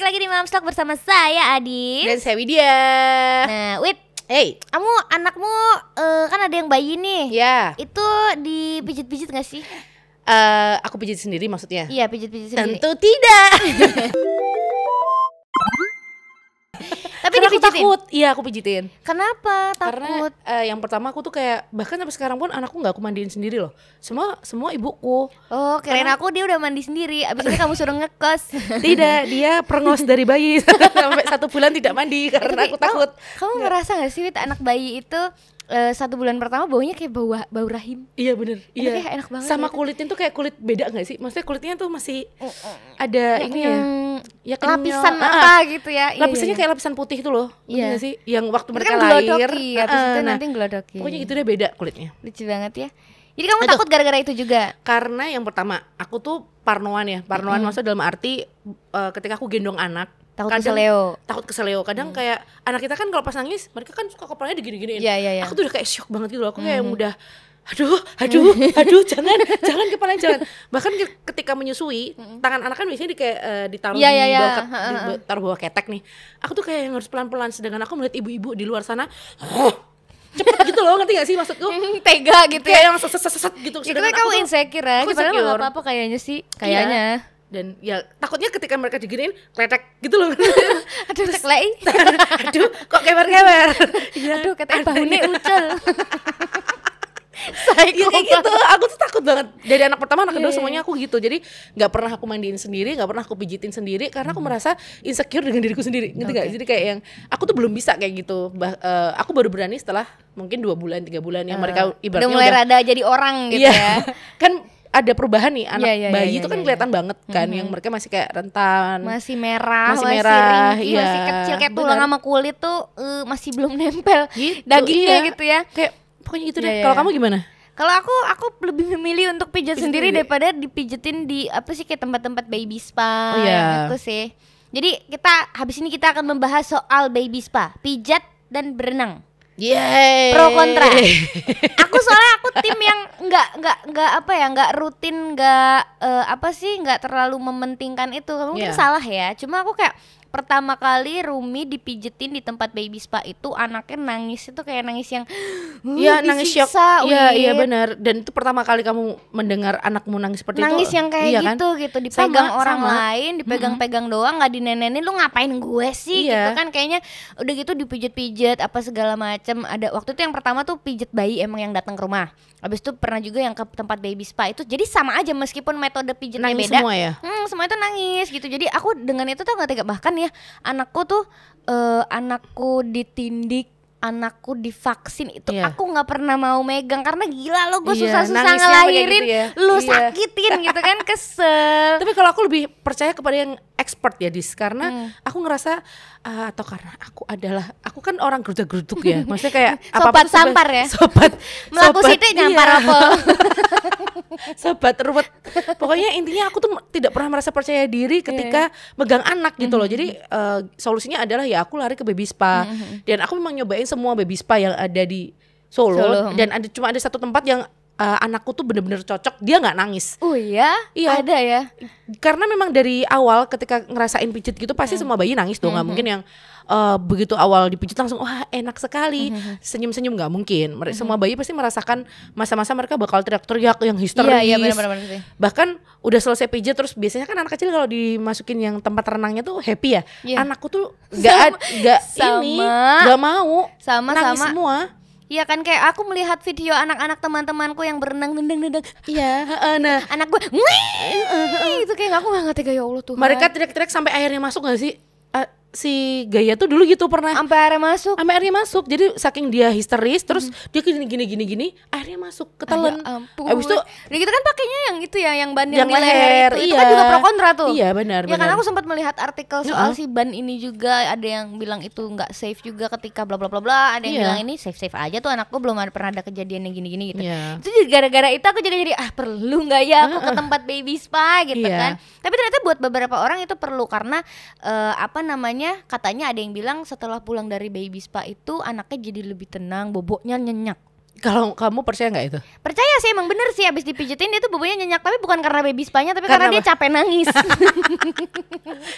lagi di Malam Stock bersama saya Adi. Dan saya Widya. Nah, Wid, Hey, kamu anakmu eh, kan ada yang bayi nih. ya. Itu dipijit-pijit gak sih? eh, aku pijit sendiri maksudnya. Iya, pijit-pijit sendiri. Tentu tidak. Tapi Karena aku dipijitin. takut. Iya, aku pijitin. Kenapa Karena takut? eh, yang pertama aku tuh kayak bahkan sampai sekarang pun anakku nggak aku mandiin sendiri loh. Semua semua ibuku. Oh, keren karena- aku dia udah mandi sendiri. Abis itu kamu suruh ngekos. Tidak, dia perengos dari bayi sampai satu bulan tidak mandi karena Tapi oh. aku kamu- takut. Kamu ngerasa gak sih Wit anak bayi itu eh, satu bulan pertama baunya kayak bau bau rahim? Iya bener. Iya. kayak enak banget Sama gitu. kulitnya tuh kayak kulit beda nggak sih? Maksudnya kulitnya tuh masih ada ini ya. Ya kenyal. lapisan Ah, ah. apa gitu ya? Iya, iya, lapisannya iya. kayak lapisan putih itu loh ngerti Iya. nggak sih yang waktu Itu mereka kan lahir gelodoki, abis Heeh, itu nah, nanti gelodoki. pokoknya itu deh beda kulitnya Lucu banget ya. Jadi kamu Aduh. takut gara-gara itu juga? karena yang pertama aku tuh parnoan ya parnoan maksudnya dalam arti eh, ketika aku gendong anak Takut Kadang- keseleo. Mm. takut keseleo kadang kayak anak kita kan kalau pas nangis mereka kan suka kepalanya digini-giniin Iya, iya, iya. aku tuh udah kayak shock banget gitu loh aku kayak yang udah aduh aduh aduh jangan jangan kepala jangan bahkan ke- ketika menyusui tangan anak kan biasanya di kayak eh, ditaruh Iya, di iya, iya. bawah Ha, ke- ha, di ha. bawah- taruh bawah ketek nih aku tuh kayak yang harus pelan-pelan sedangkan aku melihat ibu-ibu di luar sana cepet gitu loh ngerti gak sih maksudku Tega gitu ya. kayak yang seset seset gitu Itu Sedangkan kan kamu aku tuh- insecure ya. aku Padahal nggak insecure. Iya. apa-apa kayaknya sih. Kayaknya. dan ya takutnya ketika mereka diginiin kletek gitu loh Aduh, ceklei. aduh kok kewer-kewer Iya. Aduh, katanya Ada- bahunya ucel. Iya kayak Psycho. gitu, aku tuh takut banget Dari anak pertama, anak kedua semuanya aku gitu Jadi gak pernah aku mandiin sendiri, gak pernah aku pijitin sendiri Karena aku merasa insecure dengan diriku sendiri Ngerti nggak? Oke. Jadi kayak yang, aku tuh belum bisa kayak gitu Bah- eh, Aku baru berani setelah mungkin dua bulan, tiga bulan Yang mereka ibaratnya udah mulai rada jadi orang gitu Iya. ya. Kan ada perubahan nih, anak Iya, iya, iya, bayi iya, itu kan iya, kelihatan banget kan Yang mereka masih kayak rentan masih merah, Masih merah, ringkih, iya. masih kecil kayak tulang Benar. sama kulit tuh eh, masih belum nempel Gitu, dagingnya iya. gitu ya. Kayak pokoknya gitu Iya, deh, iya, kalau iya. kamu gimana? Kalau aku aku lebih memilih untuk pijat Pijat sendiri sendiri. daripada dipijetin di apa sih kayak tempat-tempat baby spa Oh, iya. gitu sih. Jadi kita habis ini kita akan membahas soal baby spa, pijat dan berenang. Yeay Pro kontra. aku soalnya aku tim yang nggak nggak nggak apa ya nggak rutin nggak eh, apa sih nggak terlalu mementingkan itu mungkin Iya. salah ya cuma aku kayak pertama kali Rumi dipijetin di tempat baby spa itu anaknya nangis itu kayak nangis yang Iya nangis shock disiksa, Iya iya wih. benar Dan itu pertama kali kamu mendengar anakmu nangis seperti itu nangis yang kayak iya kan? gitu gitu dipegang Sama, orang sama. lain dipegang-pegang doang nggak dinenenin lu ngapain gue sih Iya. gitu kan kayaknya udah gitu dipijit-pijit apa segala macem ada waktu itu yang pertama tuh pijit bayi emang yang datang ke rumah habis itu pernah juga yang ke tempat baby spa itu jadi sama aja meskipun metode pijitnya Nangis beda semua ya Hmm, semua itu nangis gitu. Jadi aku dengan itu tuh nggak tega. Bahkan ya anakku tuh eh, anakku ditindik, anakku divaksin itu Iya. aku nggak pernah mau megang karena gila lo gue Iya, susah-susah nangisnya sampai kayak ngelahirin, gitu ya. lu Iya. sakitin gitu kan kesel. Tapi kalau aku lebih percaya kepada yang expert ya Dis Hmm. Karena aku ngerasa ah, Atau karena aku adalah Aku kan orang gerudak-geruduk ya Maksudnya kayak Sobat apa-apa tuh sampar sebagai- ya? Sobat Melaku sobat- situ nyampar iya, apa? Sobat ruwet Pokoknya intinya aku tuh tidak pernah merasa percaya Iya. diri Ketika megang anak gitu Mm-hmm. loh Jadi eh, solusinya adalah ya aku lari ke baby spa Mm-hmm. Dan aku memang nyobain semua baby spa yang ada di Solo, Solo, mm. Dan ada cuma ada satu tempat yang eh, anakku tuh bener-bener cocok Dia nggak nangis Oh iya, Iya. ada ya. karena memang dari awal ketika ngerasain pijit gitu pasti Mm-hmm. semua bayi nangis dong nggak mungkin yang eh, begitu awal dipijit langsung wah enak sekali Mm-hmm. senyum senyum nggak mungkin Mere- semua bayi pasti merasakan masa-masa mereka bakal teriak-teriak yang histeris Iya, iya benar-benar sih. bahkan udah selesai pijit terus biasanya kan anak kecil kalau dimasukin yang tempat renangnya tuh happy ya Iya. anakku tuh nggak ad- nggak Sama. ini nggak mau Sama nangis sama. semua Iya kan kayak aku melihat video anak-anak teman-temanku yang berenang nendang-nendang. iya heeh, nah Anak gue, "Wih!" itu kayak aku nggak tega ya Allah tuh. Iya. mereka teriak-teriak sampai airnya masuk nggak sih Eh, si Gaya tuh dulu gitu pernah sampai akhirnya masuk. sampai airnya masuk jadi saking dia histeris terus dia gini gini gini gini airnya masuk ketelan Mm-hmm. Ya ampun. abis itu Udah gitu kan pakainya yang itu ya, yang ban yang, yang di leher, leher, itu. Itu iya. kan juga pro kontra tuh. iya benar Ya benar kan aku sempat melihat artikel soal Iya. si ban ini juga ada yang bilang itu nggak safe juga ketika bla bla bla bla, ada yang Iya. bilang ini safe safe aja tuh anakku belum ada, pernah ada kejadian yang gini-gini gitu. Iya. Itu jadi gara-gara itu aku juga jadi ah perlu nggak ya aku ke tempat baby spa gitu Iya. kan. Tapi ternyata buat beberapa orang itu perlu karena eh, apa namanya? katanya ada yang bilang setelah pulang dari baby spa itu anaknya jadi lebih tenang, boboknya nyenyak. Kalau kamu percaya nggak itu? Percaya sih emang bener sih abis dipijetin dia tuh bobanya nyenyak tapi bukan karena baby spanya tapi karena, Karena dia capek nangis.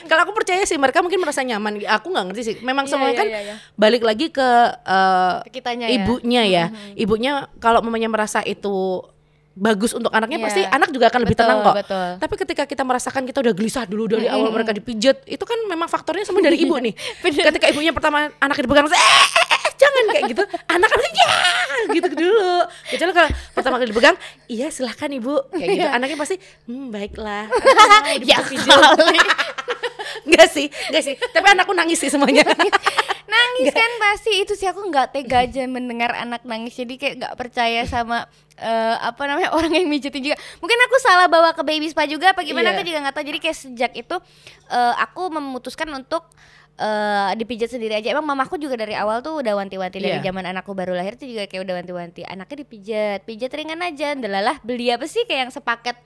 Kalau aku percaya sih mereka mungkin merasa nyaman. Aku nggak ngerti sih. Memang Iya, semuanya iya, kan iya, iya. balik lagi ke eh, Ke kitanya ya. ibunya ya. Ibunya kalau mamanya merasa itu bagus untuk anaknya Iya. pasti anak juga akan lebih Betul, tenang kok. betul. Tapi ketika kita merasakan kita udah gelisah dulu dari awal mereka dipijet, itu kan memang faktornya semua dari ibu nih. ketika ibunya pertama anaknya dipegang, eh, eh, eh, jangan kayak gitu. Anak langsung ya gitu dulu. Kecuali kalau pertama kali dipegang, iya silahkan ibu kayak gitu. Anaknya pasti hmm, baiklah. Ah, Iya. Ya dipijit. kali. Enggak sih, enggak sih. Tapi anakku nangis sih semuanya. nangis kan pasti itu sih aku nggak tega aja mendengar anak nangis jadi kayak nggak percaya sama eh, apa namanya orang yang mijitin juga mungkin aku salah bawa ke baby spa juga apa gimana Iya. aku juga nggak tahu jadi kayak sejak itu eh, aku memutuskan untuk eh, dipijat sendiri aja emang mamaku juga dari awal tuh udah wanti-wanti dari Iya. zaman anakku baru lahir tuh juga kayak udah wanti-wanti anaknya dipijat pijat ringan aja delalah beli apa sih kayak yang sepaket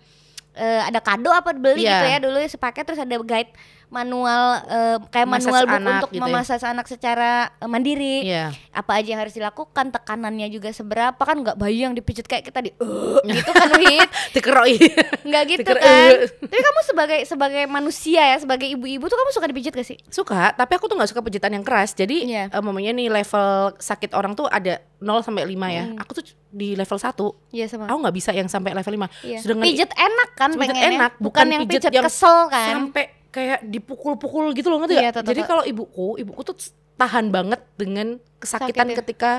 eh, ada kado apa beli gitu Iya. ya dulu sepaket terus ada guide manual eh, kayak Massage manual buku anak untuk gitu ya. memassage anak secara eh, mandiri Iya. apa aja yang harus dilakukan tekanannya juga seberapa kan nggak bayi yang dipijit kayak kita di "Eh," gitu kan Wit Dikeroi. nggak gitu Dikira, kan "Eh." tapi kamu sebagai sebagai manusia ya sebagai ibu-ibu tuh kamu suka dipijit gak sih Suka, tapi aku tuh nggak suka pijitan yang keras. Jadi Iya. eh, mamanya nih level sakit orang tuh ada 0 sampai 5 ya. Hmm. Aku tuh di level 1. Iya sama Aku nggak bisa yang sampai level 5. Iya. Sedangkan Pijet enak kan Pijet pengennya enak, bukan, bukan yang pijet pijet yang kesel kan sampai kayak dipukul-pukul gitu loh ngerti Iya, nggak? tau, tau, Jadi tau. kalau ibuku, ibuku tuh tahan banget dengan kesakitan Sakit ya. ketika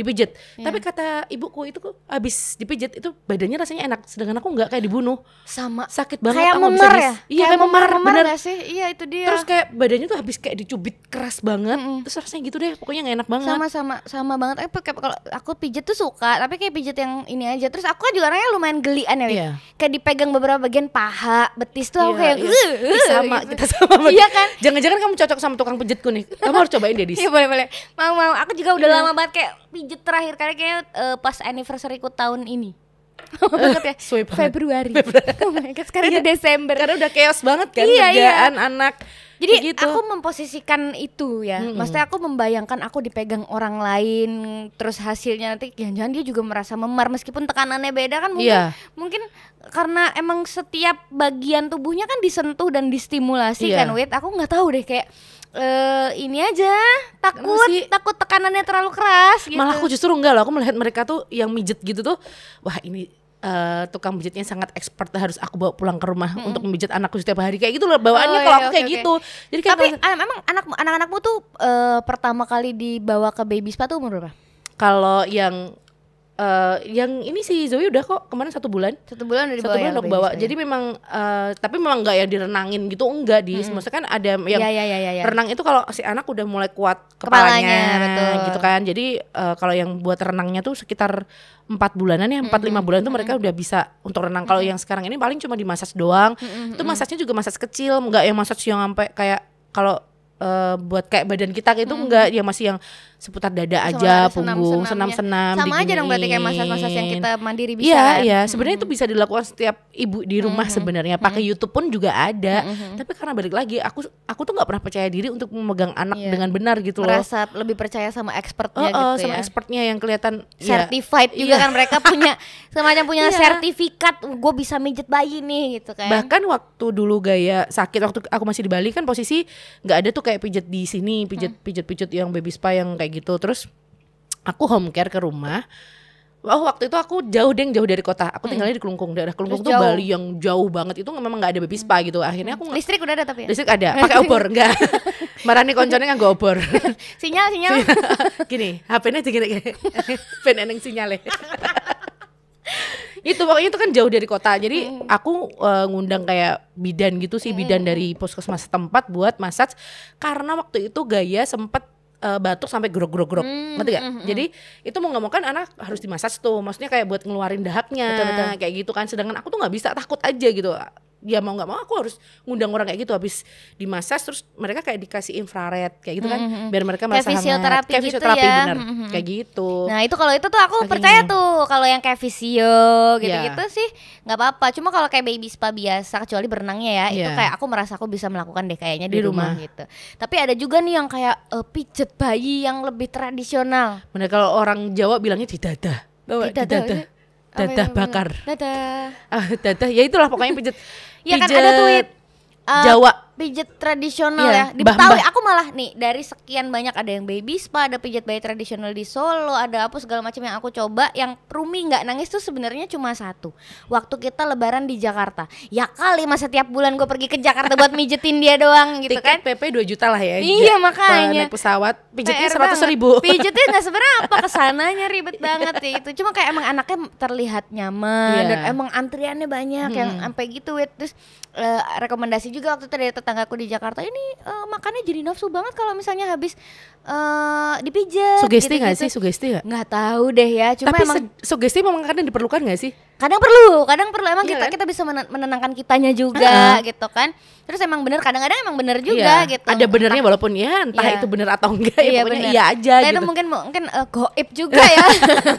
dipijit. Iya. Tapi kata ibuku itu kok abis dipijit itu badannya rasanya enak, sedangkan aku nggak kayak dibunuh. sama Sakit banget kayak aku nggak bisa memar dis- ya Iya, kayak memar, bener. nggak sih iya itu dia Terus kayak badannya tuh habis kayak dicubit keras banget. Mm-mm. Terus rasanya gitu deh, pokoknya nggak enak banget. sama sama sama banget Tapi kayak kalau aku pijet tuh suka tapi kayak pijet yang ini aja terus aku kan juga orangnya lumayan gelian ya Wit. Iya. kayak dipegang beberapa bagian paha betis tuh aku Iya, kayak iya. "Ugh, Ih, ugh," sama, gitu. kita sama banget. iya kan Jangan-jangan kamu cocok sama tukang pijitku nih. Kamu harus cobain deh, Dis. Iya boleh boleh mau mau aku juga udah Iya. lama banget kayak pijet terakhir kali kayaknya eh, pas anniversary ku tahun ini banget ya Suwe banget. Februari oh my God, sekarang Iya. udah Desember Karena udah chaos banget kan Iya, iya. kerjaan anak. kayak Jadi gitu. aku memposisikan itu ya. Mm-mm. Maksudnya aku membayangkan aku dipegang orang lain terus hasilnya nanti jangan-jangan dia juga merasa memar meskipun tekanannya beda kan mungkin Iya. mungkin karena emang setiap bagian tubuhnya kan disentuh dan distimulasi Iya. kan wait aku nggak tahu deh kayak eh ini aja takut Kenapa sih? takut tekanannya terlalu keras gitu. Malah aku justru enggak loh, aku melihat mereka tuh yang mijet gitu tuh, wah ini eh, tukang pijitnya sangat expert harus aku bawa pulang ke rumah untuk memijit anakku setiap hari kayak gitu loh bawaannya Oh, kalau iya, aku oke, kayak oke. gitu. Jadi kayak Tapi kalau- ah, emang anak anak-anakmu tuh eh, pertama kali dibawa ke baby spa tuh umur berapa? kalau yang eh, yang ini sih Zoe udah kok kemarin satu bulan Satu bulan udah dibawa. satu bulan ya ke udah baby bawa. spa ya? Jadi memang eh, tapi memang enggak yang direnangin gitu enggak di maksudnya kan ada yang Hmm. Iya, iya, iya, iya, iya. renang itu kalau si anak udah mulai kuat Kepalanya, kepalanya, betul. gitu kan jadi eh, kalau yang buat renangnya tuh sekitar empat bulanan ya empat Hmm, lima bulan tuh mereka udah bisa untuk renang kalau yang sekarang ini paling cuma di massage doang itu Hmm. massage-nya juga massage kecil nggak yang massage yang sampai kayak kalau eh, buat kayak badan kita gitu Hmm. enggak yang masih yang seputar dada Sama aja ada punggung senam-senamnya. senam-senam sama aja dong berarti kayak massage-massage yang diginiin. kita mandiri bisa Iya, kan? iya. Sebenarnya itu bisa dilakukan setiap ibu di rumah Hmm. sebenarnya. Pakai YouTube pun juga ada. Tapi karena balik lagi, aku aku tuh nggak pernah percaya diri untuk memegang anak Iya. dengan benar gitu loh. merasa lebih percaya sama Oh, expertnya oh, gitu sama ya expertnya yang kelihatan ya, certified juga Iya. kan mereka punya semacam punya Iya. sertifikat gue bisa mijet bayi nih gitu kan Bahkan waktu dulu gaya sakit waktu aku masih di Bali kan posisi nggak ada tuh kayak pijat di sini, pijat Hmm. pijat pijat yang baby spa yang kayak gitu. Terus aku home care ke rumah. Wah waktu itu aku jauh deng jauh dari kota. Aku tinggalnya di Kelungkung. Daerah Kelungkung Hmm. Terus tuh jauh. Hmm. Bali yang jauh banget itu memang nggak ada baby spa gitu. Akhirnya aku nge- listrik udah ada tapi ya listrik ada. Pakai obor enggak? Marani konconnya nggak obor. sinyal sinyal gini, HP-nya digini kayak pen eneng sinyale. itu pokoknya itu kan jauh dari kota. Jadi Hmm. aku eh, ngundang kayak bidan gitu sih, bidan dari puskesmas setempat buat massage karena waktu itu gaya sempet eh, batuk sampai grog-grog-grog, Hmm, ngerti gak? Jadi itu mau nggak mau kan anak harus dimassage tuh, maksudnya kayak buat ngeluarin dahaknya, Betul-betul. kayak gitu kan. Sedangkan aku tuh nggak bisa, takut aja gitu. Ya mau nggak mau aku harus ngundang orang kayak gitu habis dimassage terus mereka kayak dikasih infrared kayak gitu kan, Hmm, biar mereka Kayak merasa hangat. fisioterapi kayak gitu fisioterapi ya. bener, Mhm. kayak gitu. nah itu kalau itu tuh aku Saking- percaya tuh kalau yang kayak visio gitu gitu Iya. sih nggak apa-apa cuma kalau kayak baby spa biasa kecuali berenangnya ya itu Iya. kayak aku merasa aku bisa melakukan deh kayaknya di, Di rumah. rumah. gitu tapi ada juga nih yang kayak eh, pijet bayi yang lebih tradisional Bener kalau orang Jawa bilangnya di dada. Tidak Bawa tahu dadah. ini iya. apa yang Dadah namanya? bakar. Dadah. Ah, dadah. Ya itulah pokoknya pijet. Iya kan ada tweet eh, Jawa. pijet tradisional Iya, ya. Di mbah-mbah. Betawi aku malah nih dari sekian banyak ada yang baby spa, ada pijat bayi tradisional di Solo, ada apa segala macam yang aku coba yang Rumi nggak nangis tuh sebenarnya cuma satu. Waktu kita lebaran di Jakarta. Ya kali masa tiap bulan gue pergi ke Jakarta buat mijetin dia doang gitu kan. Tiket PP 2 juta lah ya. Iya, Ja- makanya. Naik pesawat pijetnya PR 100 banget. ribu. Pijetnya gak seberapa kesananya ribet banget ya itu. Cuma kayak emang anaknya terlihat nyaman Iya. Hmm. dan emang antriannya banyak yang sampai gitu wait. Terus eh, rekomendasi juga waktu itu dari tetanggaku di Jakarta ini eh, makannya jadi nafsu banget kalau misalnya habis eh dipijet. gitu-gitu. Sugesti nggak sih? Sugesti nggak? Nggak tahu deh ya. Cuma Tapi emang se- sugesti memang kadang diperlukan nggak sih? kadang perlu kadang perlu emang Iya kita kan? kita bisa menen- menenangkan kitanya juga Heeh. gitu kan terus emang bener kadang-kadang emang bener juga Iya, gitu Ada benernya walaupun ya entah Iya. itu bener atau enggak ya pokoknya bener. iya aja Nah, gitu. itu mungkin mungkin eh, goib juga ya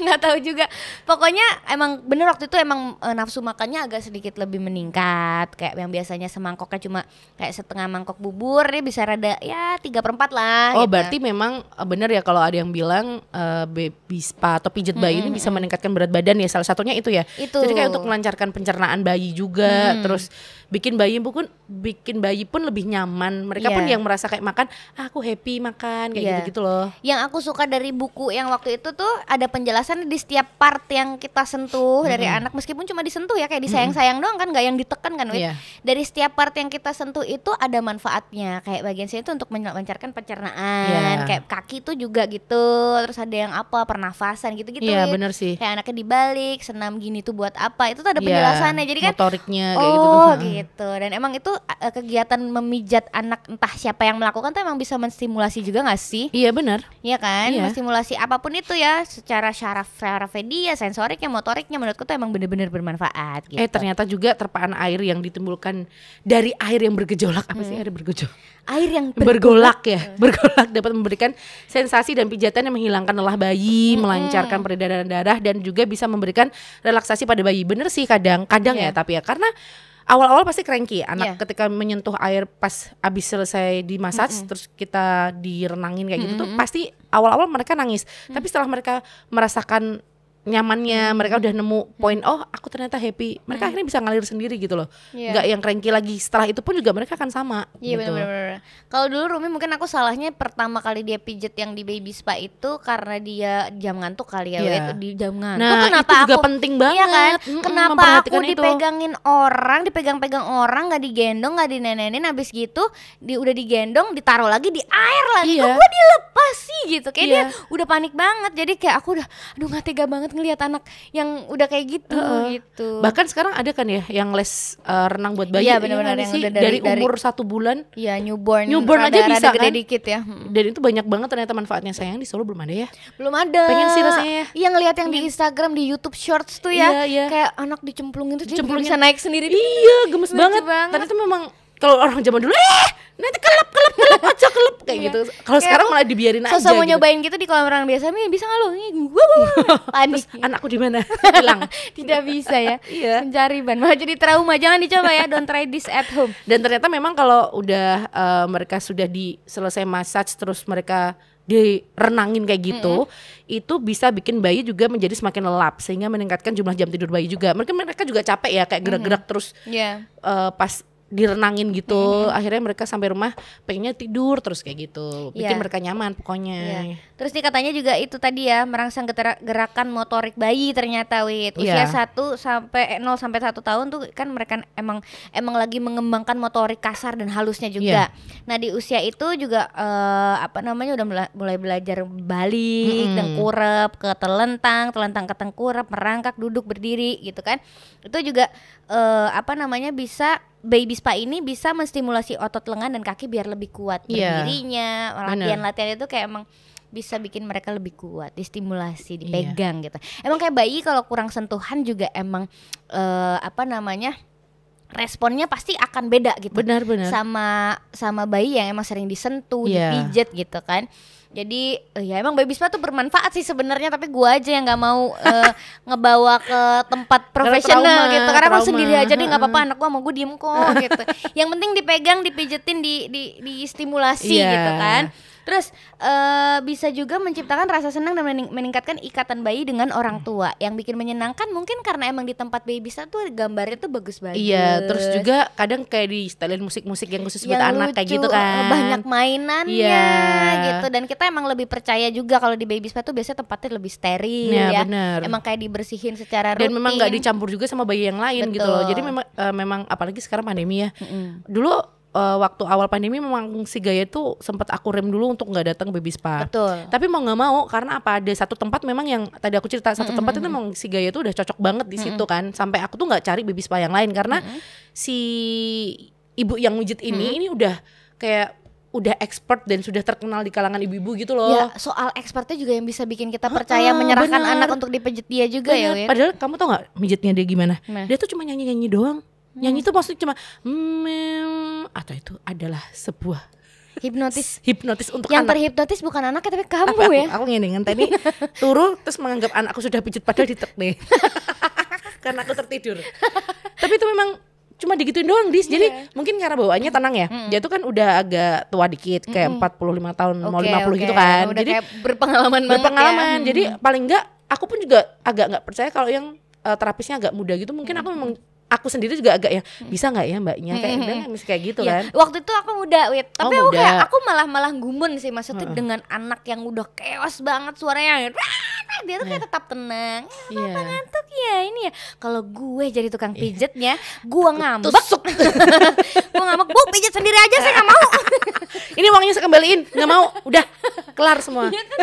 nggak tahu juga pokoknya emang bener waktu itu emang eh, nafsu makannya agak sedikit lebih meningkat kayak yang biasanya semangkoknya cuma kayak setengah mangkok bubur dia bisa rada ya tiga perempat lah Oh gitu. berarti memang eh, bener ya kalau ada yang bilang eh, baby spa atau pijet bayi Hmm, ini bisa meningkatkan berat badan ya salah satunya itu ya. Itu. Jadi kayak untuk melancarkan pencernaan bayi juga, Hmm. terus bikin bayi pun bikin bayi pun lebih nyaman. Mereka pun Iya. yang merasa kayak makan, ah, aku happy makan kayak Iya. gitu-gitu loh. yang aku suka dari buku yang waktu itu tuh ada penjelasan di setiap part yang kita sentuh dari anak meskipun cuma disentuh ya kayak disayang-sayang doang kan nggak yang ditekan kan Wit? Iya. dari setiap part yang kita sentuh itu ada manfaatnya kayak bagian sini tuh untuk melancarkan pencernaan Iya. kayak kaki tuh juga gitu terus ada yang apa pernafasan gitu-gitu Iya Wit. bener sih. kayak anaknya dibalik senam gini tuh buat apa itu tuh ada Iya, penjelasannya jadi kan motoriknya kayak gitu Oh tuh. gitu, dan emang itu eh, kegiatan memijat anak entah siapa yang melakukan tuh emang bisa menstimulasi juga gak sih? Iya bener. Iya kan, Iya. stimulasi apapun itu ya, secara syaraf syarafnya dia, sensoriknya, motoriknya, menurutku tuh emang bener-bener bermanfaat. Gitu. Eh ternyata juga terpaan air yang ditimbulkan dari air yang bergejolak apa Hmm. sih air bergejolak? air yang bergolak Iya. ya bergolak dapat memberikan sensasi dan pijatan yang menghilangkan lelah bayi melancarkan peredaran darah dan juga bisa memberikan relaksasi pada bayi bener sih kadang kadang Iya. ya tapi ya karena awal-awal pasti cranky anak Iya. ketika menyentuh air pas abis selesai di massage terus kita direnangin kayak gitu tuh pasti awal-awal mereka nangis Mm. tapi setelah mereka merasakan nyamannya mereka udah nemu poin oh aku ternyata happy mereka akhirnya bisa ngalir sendiri gitu loh Iya. nggak yang cranky lagi setelah itu pun juga mereka akan sama Iya gitu bener-bener Kalau dulu Rumi mungkin aku salahnya pertama kali dia pijet yang di baby spa itu karena dia jam ngantuk kali ya, Iya. Wit. di jam ngantuk. Nah, kenapa itu juga aku penting banget. Iya kan? Mm-mm, Kenapa aku memperhatikan itu. dipegangin orang, dipegang-pegang orang, nggak digendong, nggak dinenenin, habis gitu di udah digendong, ditaruh lagi di air lagi. Iya. Kok gue dilepas sih gitu. Kayak Iya. dia udah panik banget. Jadi kayak aku udah aduh nggak tega banget ngelihat anak yang udah kayak gitu gitu. Bahkan sekarang ada kan ya yang les eh, renang buat bayi Iya, ini benar-benar kan yang sih? udah dari, dari- umur satu bulan Iya newborn, Newborn aja rada-rada bisa gede kan? dikit ya. Mm. dan itu banyak banget ternyata manfaatnya sayang di Solo belum ada ya. Belum ada. Pengen sih rasanya ya. Iya ngelihat yang di Instagram, di YouTube Shorts tuh ya. Iya, iya. Kayak anak dicemplungin tuh dia Dicemplungin. bisa naik sendiri. Iya, gemes Lucu banget. banget. Ternyata memang kalau orang zaman dulu eh nanti kelep kelep kelep aja kelep kayak Iya. gitu. Kalau Kayak sekarang aku malah dibiarin aja. Sosok mau gitu. nyobain gitu di kolam renang biasa, Mi bisa nggak lo? Ih, Gua gua- gua." panik. Anakku di mana? Hilang. Tidak bisa ya. Iya. Mencari ban malah jadi trauma. Jangan dicoba ya. Don't try this at home. Dan ternyata memang kalau udah eh, mereka sudah di selesai massage terus mereka direnangin kayak gitu, itu bisa bikin bayi juga menjadi semakin lelap sehingga meningkatkan jumlah jam tidur bayi juga. Mungkin mereka juga capek ya kayak gerak-gerak terus Iya. eh, pas direnangin gitu. Akhirnya mereka sampai rumah pengennya tidur terus kayak gitu. Iya. Bikin mereka nyaman pokoknya. Iya. Terus nih katanya juga itu tadi ya merangsang getera- gerakan motorik bayi ternyata wit usia Iya. 1 sampai eh, 0 sampai 1 tahun tuh kan mereka emang emang lagi mengembangkan motorik kasar dan halusnya Iya. juga. Nah, di usia itu juga eh, apa namanya udah mela- mulai belajar balik, Mm-mm. tengkurap, ke telentang, telentang ke tengkurap, merangkak, duduk, berdiri gitu kan. Itu juga eh, apa namanya bisa baby spa ini bisa menstimulasi otot lengan dan kaki biar lebih kuat Iya. berdirinya, latihan-latihan itu kayak emang bisa bikin mereka lebih kuat, distimulasi, dipegang gitu. Emang kayak bayi kalau kurang sentuhan juga emang eh, apa namanya responnya pasti akan beda gitu. Benar-benar. Sama sama bayi yang emang sering disentuh, Iya. dipijat gitu kan. Jadi eh, ya emang baby spa tuh bermanfaat sih sebenarnya tapi gua aja yang nggak mau eh, ngebawa ke tempat profesional trauma, gitu karena aku trauma. sendiri aja deh nggak apa-apa anak gua mau gua diem kok gitu. Yang penting dipegang, dipijetin, di di distimulasi Iya. gitu kan. Terus eh, bisa juga menciptakan rasa senang dan mening- meningkatkan ikatan bayi dengan orang tua yang bikin menyenangkan mungkin karena emang di tempat baby saat tuh gambarnya tuh bagus-bagus. Iya, terus juga kadang kayak di setelin musik-musik yang khusus buat Yang anak kayak lucu, eh, gitu kan. Banyak mainannya Iya. gitu dan kita emang lebih percaya juga kalau di baby spa tuh biasanya tempatnya lebih steril Iya, ya. benar. Emang kayak dibersihin secara rutin. dan memang nggak dicampur juga sama bayi yang lain gitu Betul. loh. Jadi memang eh, memang apalagi sekarang pandemi ya. Mm-mm. Dulu eh, waktu awal pandemi memang si Gaya tuh sempat aku rem dulu untuk nggak datang baby spa. Betul. Tapi mau nggak mau karena apa ada satu tempat memang yang tadi aku cerita satu tempat itu memang si Gaya tuh udah cocok banget di situ kan. Sampai aku tuh nggak cari baby spa yang lain karena si ibu yang wujud ini ini udah kayak udah expert dan sudah terkenal di kalangan ibu-ibu gitu loh. Ya, soal expertnya juga yang bisa bikin kita percaya Heeh, menyerahkan Ah, benar. anak untuk dipijet dia juga ya, Bener. Win. Padahal kamu tau gak mijitnya dia gimana? Nah. Hmm. Dia tuh cuma nyanyi-nyanyi doang. Nyanyi tuh maksudnya cuma mem atau itu adalah sebuah Hipnotis. hipnotis untuk Yang anak. terhipnotis bukan anaknya tapi kamu Apa aku, ya. aku ngene ngenteni turu terus menganggap anakku sudah pijit padahal ditek nih. Karena aku tertidur. Tapi itu memang cuma digituin doang dis. Jadi Iya. mungkin karena bawaannya tenang ya. Dia tuh kan udah agak tua dikit kayak 45 tahun mau Oke, 50 gitu oke. kan. Udah Jadi kayak berpengalaman banget berpengalaman. ya. Jadi paling enggak aku pun juga agak nggak percaya kalau yang eh, terapisnya agak muda gitu. Mungkin aku memang aku sendiri juga agak ya Hmm. bisa nggak ya mbaknya kayak udah nggak, mesti kayak gitu Ya, kan. Oh, Waktu itu aku muda, Wit. Tapi aku muda. kayak aku malah malah gumun sih maksudnya dengan anak yang udah keos banget suaranya. Dia tuh kayak tetap tenang. Iya. Ngantuk ya ini ya. Kalau gue jadi tukang pijetnya, gua ngambek. Tusuk. gua ngambek, "Bu, pijet sendiri aja saya nggak mau." Ini uangnya saya kembaliin, nggak mau. Udah kelar semua. Iya kan?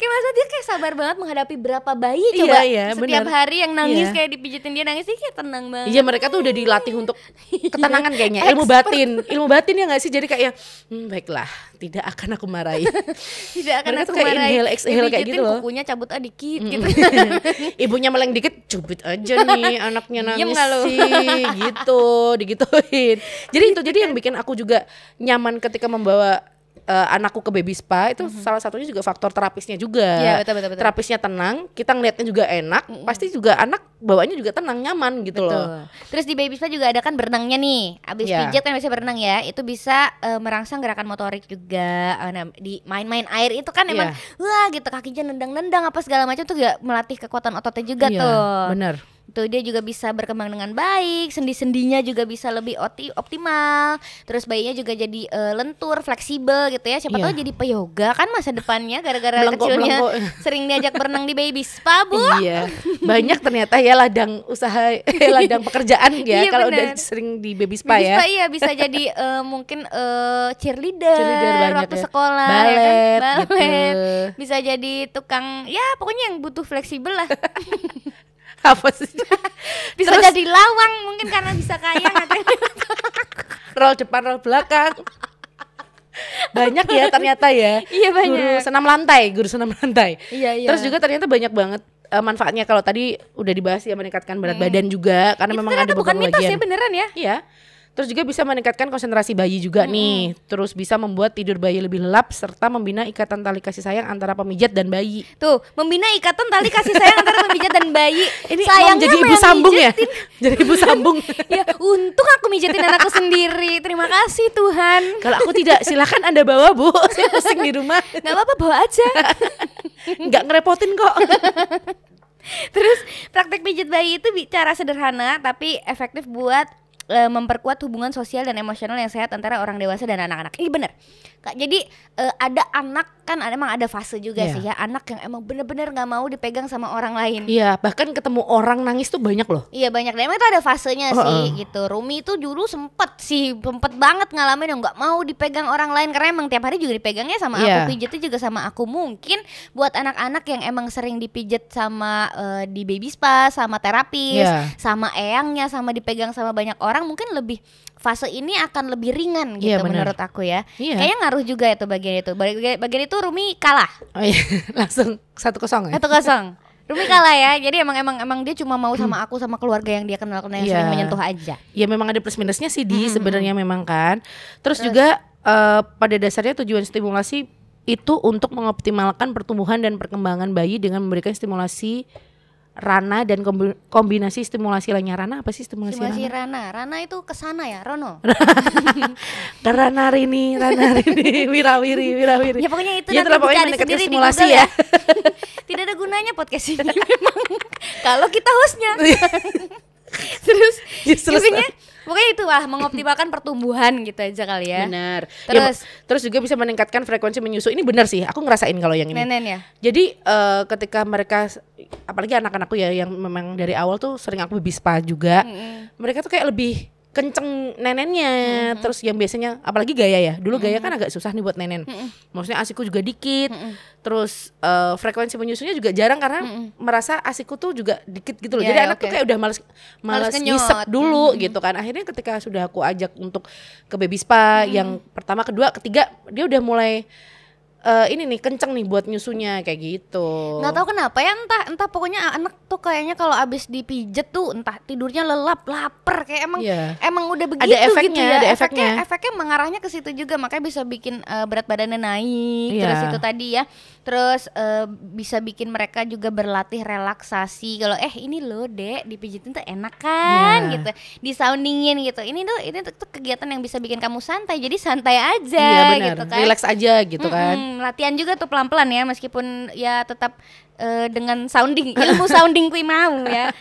Kayak masa dia kayak sabar banget menghadapi berapa bayi coba Iya, iya, setiap benar. hari yang nangis Iya. kayak dipijitin dia nangis sih kayak tenang banget. Iya mereka tuh udah dilatih untuk ketenangan kayaknya ilmu batin ilmu batin ya nggak sih jadi kayak "Hmm, baiklah tidak akan aku marahi Tidak akan Mereka aku tuh kayak marahin. inhale, exhale kayak Dipijitin gitu loh. Kukunya cabut ah dikit gitu. ibunya meleng dikit cubit aja nih anaknya nangis Diem nggak lu? Gitu sih gitu digituin jadi itu jadi kan? yang bikin aku juga nyaman ketika membawa eh, anakku ke baby spa itu salah satunya juga faktor terapisnya juga Mhm. Iya, betul, betul, betul. terapisnya tenang kita ngeliatnya juga enak pasti juga anak bawaannya juga tenang nyaman gitu loh Betul. Terus di baby spa juga ada kan berenangnya nih. Abis Iya. pijat kan biasanya berenang ya. Itu bisa eh, merangsang gerakan motorik juga. Eh, nah, di main-main air itu kan emang Iya. wah gitu kakinya nendang-nendang apa segala macam tuh juga melatih kekuatan ototnya juga Iya, tuh. bener Tuh dia juga bisa berkembang dengan baik, sendi-sendinya juga bisa lebih oti- optimal. Terus bayinya juga jadi eh, lentur, fleksibel gitu ya. Siapa Iya. tahu jadi peyoga kan masa depannya gara-gara Melengkok, kecilnya melengkok. sering diajak berenang di baby spa, Bu. iya banyak ternyata ya ladang usaha eh, ladang pekerjaan ya Iya, kalau bener. udah sering di baby Baby spa ya spa iya bisa jadi eh, mungkin eh, cheerleader, Cheerleader banyak waktu ya. sekolah ya kan? Balet, Balet. gitu. Bisa jadi tukang ya pokoknya yang butuh fleksibel lah. apa sih Bisa Terus- jadi lawang mungkin karena bisa kaya katanya. roll depan roll belakang banyak ya ternyata ya Iya, banyak. guru senam lantai guru senam lantai Iya, iya. terus juga ternyata banyak banget eh, manfaatnya kalau tadi udah dibahas ya meningkatkan berat badan juga karena Hmm. Itu memang ada ternyata bukan beberapa mitos ya bagian beneran ya. iya terus juga bisa meningkatkan konsentrasi bayi juga Hmm. nih terus bisa membuat tidur bayi lebih lelap serta membina ikatan tali kasih sayang antara pemijat dan bayi Tuh, membina ikatan tali kasih sayang antara pemijat dan bayi. ini Sayangnya mau jadi sama ibu yang sambung ya mijetin. jadi ibu sambung ya, untung aku mijetin anakku sendiri. Terima kasih Tuhan. kalau aku tidak silakan anda bawa bu saya pusing di rumah Gak apa-apa bawa aja. nggak ngerepotin kok Terus praktek pijat bayi itu bi- cara sederhana tapi efektif buat eh, memperkuat hubungan sosial dan emosional yang sehat antara orang dewasa dan anak-anak. Ini bener. Kak, jadi eh, ada anak kan ada- emang ada fase juga Iya. sih ya anak yang emang bener-bener nggak mau dipegang sama orang lain. Iya, bahkan ketemu orang nangis tuh banyak loh. Iya banyak dan emang itu ada fasenya Heeh. sih gitu. Rumi itu dulu sempet sih, sempet banget ngalamin yang nggak mau dipegang orang lain karena emang tiap hari juga dipegangnya sama Iya. aku, pijitnya juga sama aku. Mungkin buat anak-anak yang emang sering dipijit sama eh, di baby spa, sama terapis, Iya. sama eyangnya, sama dipegang sama banyak orang, mungkin lebih fase ini akan lebih ringan gitu Iya, benar. menurut aku ya. Iya. Kayaknya ngaruh juga ya tuh bagian itu. Bagian, bagian itu Rumi kalah Oh iya, langsung satu kosong ya. satu kosong Rumi kalah ya jadi emang emang emang dia cuma mau sama aku sama keluarga yang dia kenal kenal yang Iya. sering menyentuh aja Ya memang ada plus minusnya sih di sebenarnya memang kan. Terus, juga eh, pada dasarnya tujuan stimulasi itu untuk mengoptimalkan pertumbuhan dan perkembangan bayi dengan memberikan stimulasi Rana dan kombi- kombinasi stimulasi lainnya Rana apa sih stimulasi, Simulasi Rana? Rana. Rana itu kesana ya, Rono. Ke Rana Rini, Rana Rini, Wirawiri, Wirawiri. ya pokoknya itu nanti Ya, itulah pokoknya dicari mendekatkan sendiri di stimulasi Google ya. ya. Tidak ada gunanya podcast ini memang kalau kita hostnya. Terus Ya, Iya. selesai. intinya pokoknya itu lah mengoptimalkan pertumbuhan gitu aja kali ya. Benar. Terus? Ya, terus juga bisa meningkatkan frekuensi menyusui. Ini benar sih, aku ngerasain kalau yang ini. Nenen ya. Jadi eh, ketika mereka apalagi anak-anakku ya yang memang dari awal tuh sering aku bispa Hmm. juga. Mereka tuh kayak lebih kenceng nenennya. Terus yang biasanya apalagi gaya ya. Dulu gaya kan agak susah nih buat nenen. Maksudnya asiku juga dikit. Terus eh, frekuensi menyusunya juga jarang karena merasa asiku tuh juga dikit gitu loh. Iya, Jadi iya, anak tuh oke. kayak udah males males, Males kenyot. ngisep dulu gitu kan. Akhirnya ketika sudah aku ajak untuk ke baby spa yang pertama, kedua, ketiga dia udah mulai eh ini nih kenceng nih buat nyusunya kayak gitu. nggak tahu kenapa ya entah entah pokoknya anak tuh kayaknya kalau abis dipijet tuh entah tidurnya lelap lapar kayak emang Iya. emang udah begitu gitu efeknya, ya ada efeknya efeknya. efeknya mengarahnya ke situ juga makanya bisa bikin eh, berat badannya naik Iya. terus itu tadi ya terus eh, bisa bikin mereka juga berlatih relaksasi kalau eh ini loh dek dipijitin tuh enak kan Iya. gitu disoundingin gitu ini tuh ini tuh, tuh kegiatan yang bisa bikin kamu santai jadi santai aja Iya benar. gitu kan Relax aja gitu kan. Mm-mm, latihan juga tuh pelan-pelan ya meskipun ya tetap eh, dengan sounding ilmu sounding kui mau ya.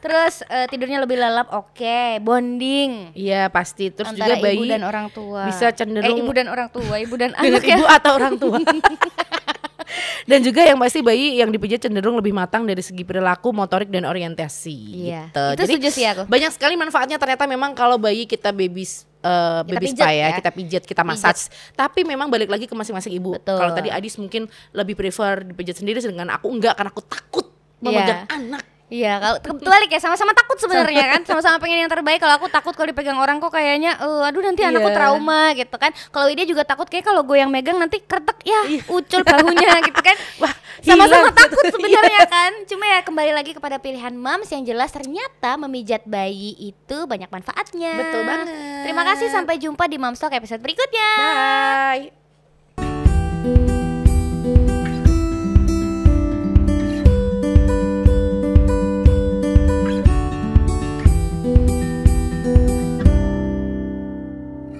Terus eh, tidurnya lebih lelap oke, bonding Iya pasti. Terus antara juga bayi ibu dan orang tua. bisa cenderung- eh, Iya, ibu dan orang tua, ibu dan dengan anak ya. ibu atau orang tua. dan juga yang pasti bayi yang dipijat cenderung lebih matang dari segi perilaku, motorik dan orientasi. Iya. gitu. Itu Jadi setuju sih aku. banyak sekali manfaatnya ternyata memang kalau bayi kita baby s- eh, Kita baby pijat spa ya, ya. kita pijat, kita massage. Tapi memang balik lagi ke masing-masing ibu. Betul. Kalau tadi Adis mungkin lebih prefer dipijat sendiri sedangkan aku enggak karena aku takut memegang anak. Iya, kalau ter- terbalik ya sama-sama takut sebenarnya kan, sama-sama pengen yang terbaik. Kalau aku takut kalau dipegang orang kok kayaknya, eh, aduh nanti anakku Iya. trauma gitu kan. Kalau dia juga takut kayak kalau gue yang megang nanti kretek ya, ucul bahunya gitu kan. Wah, sama-sama Iya. hilang gitu. takut sebenarnya kan cuma ya kembali lagi kepada pilihan moms yang jelas ternyata memijat bayi itu banyak manfaatnya Betul banget. terima kasih sampai jumpa di Moms Talk episode berikutnya Bye.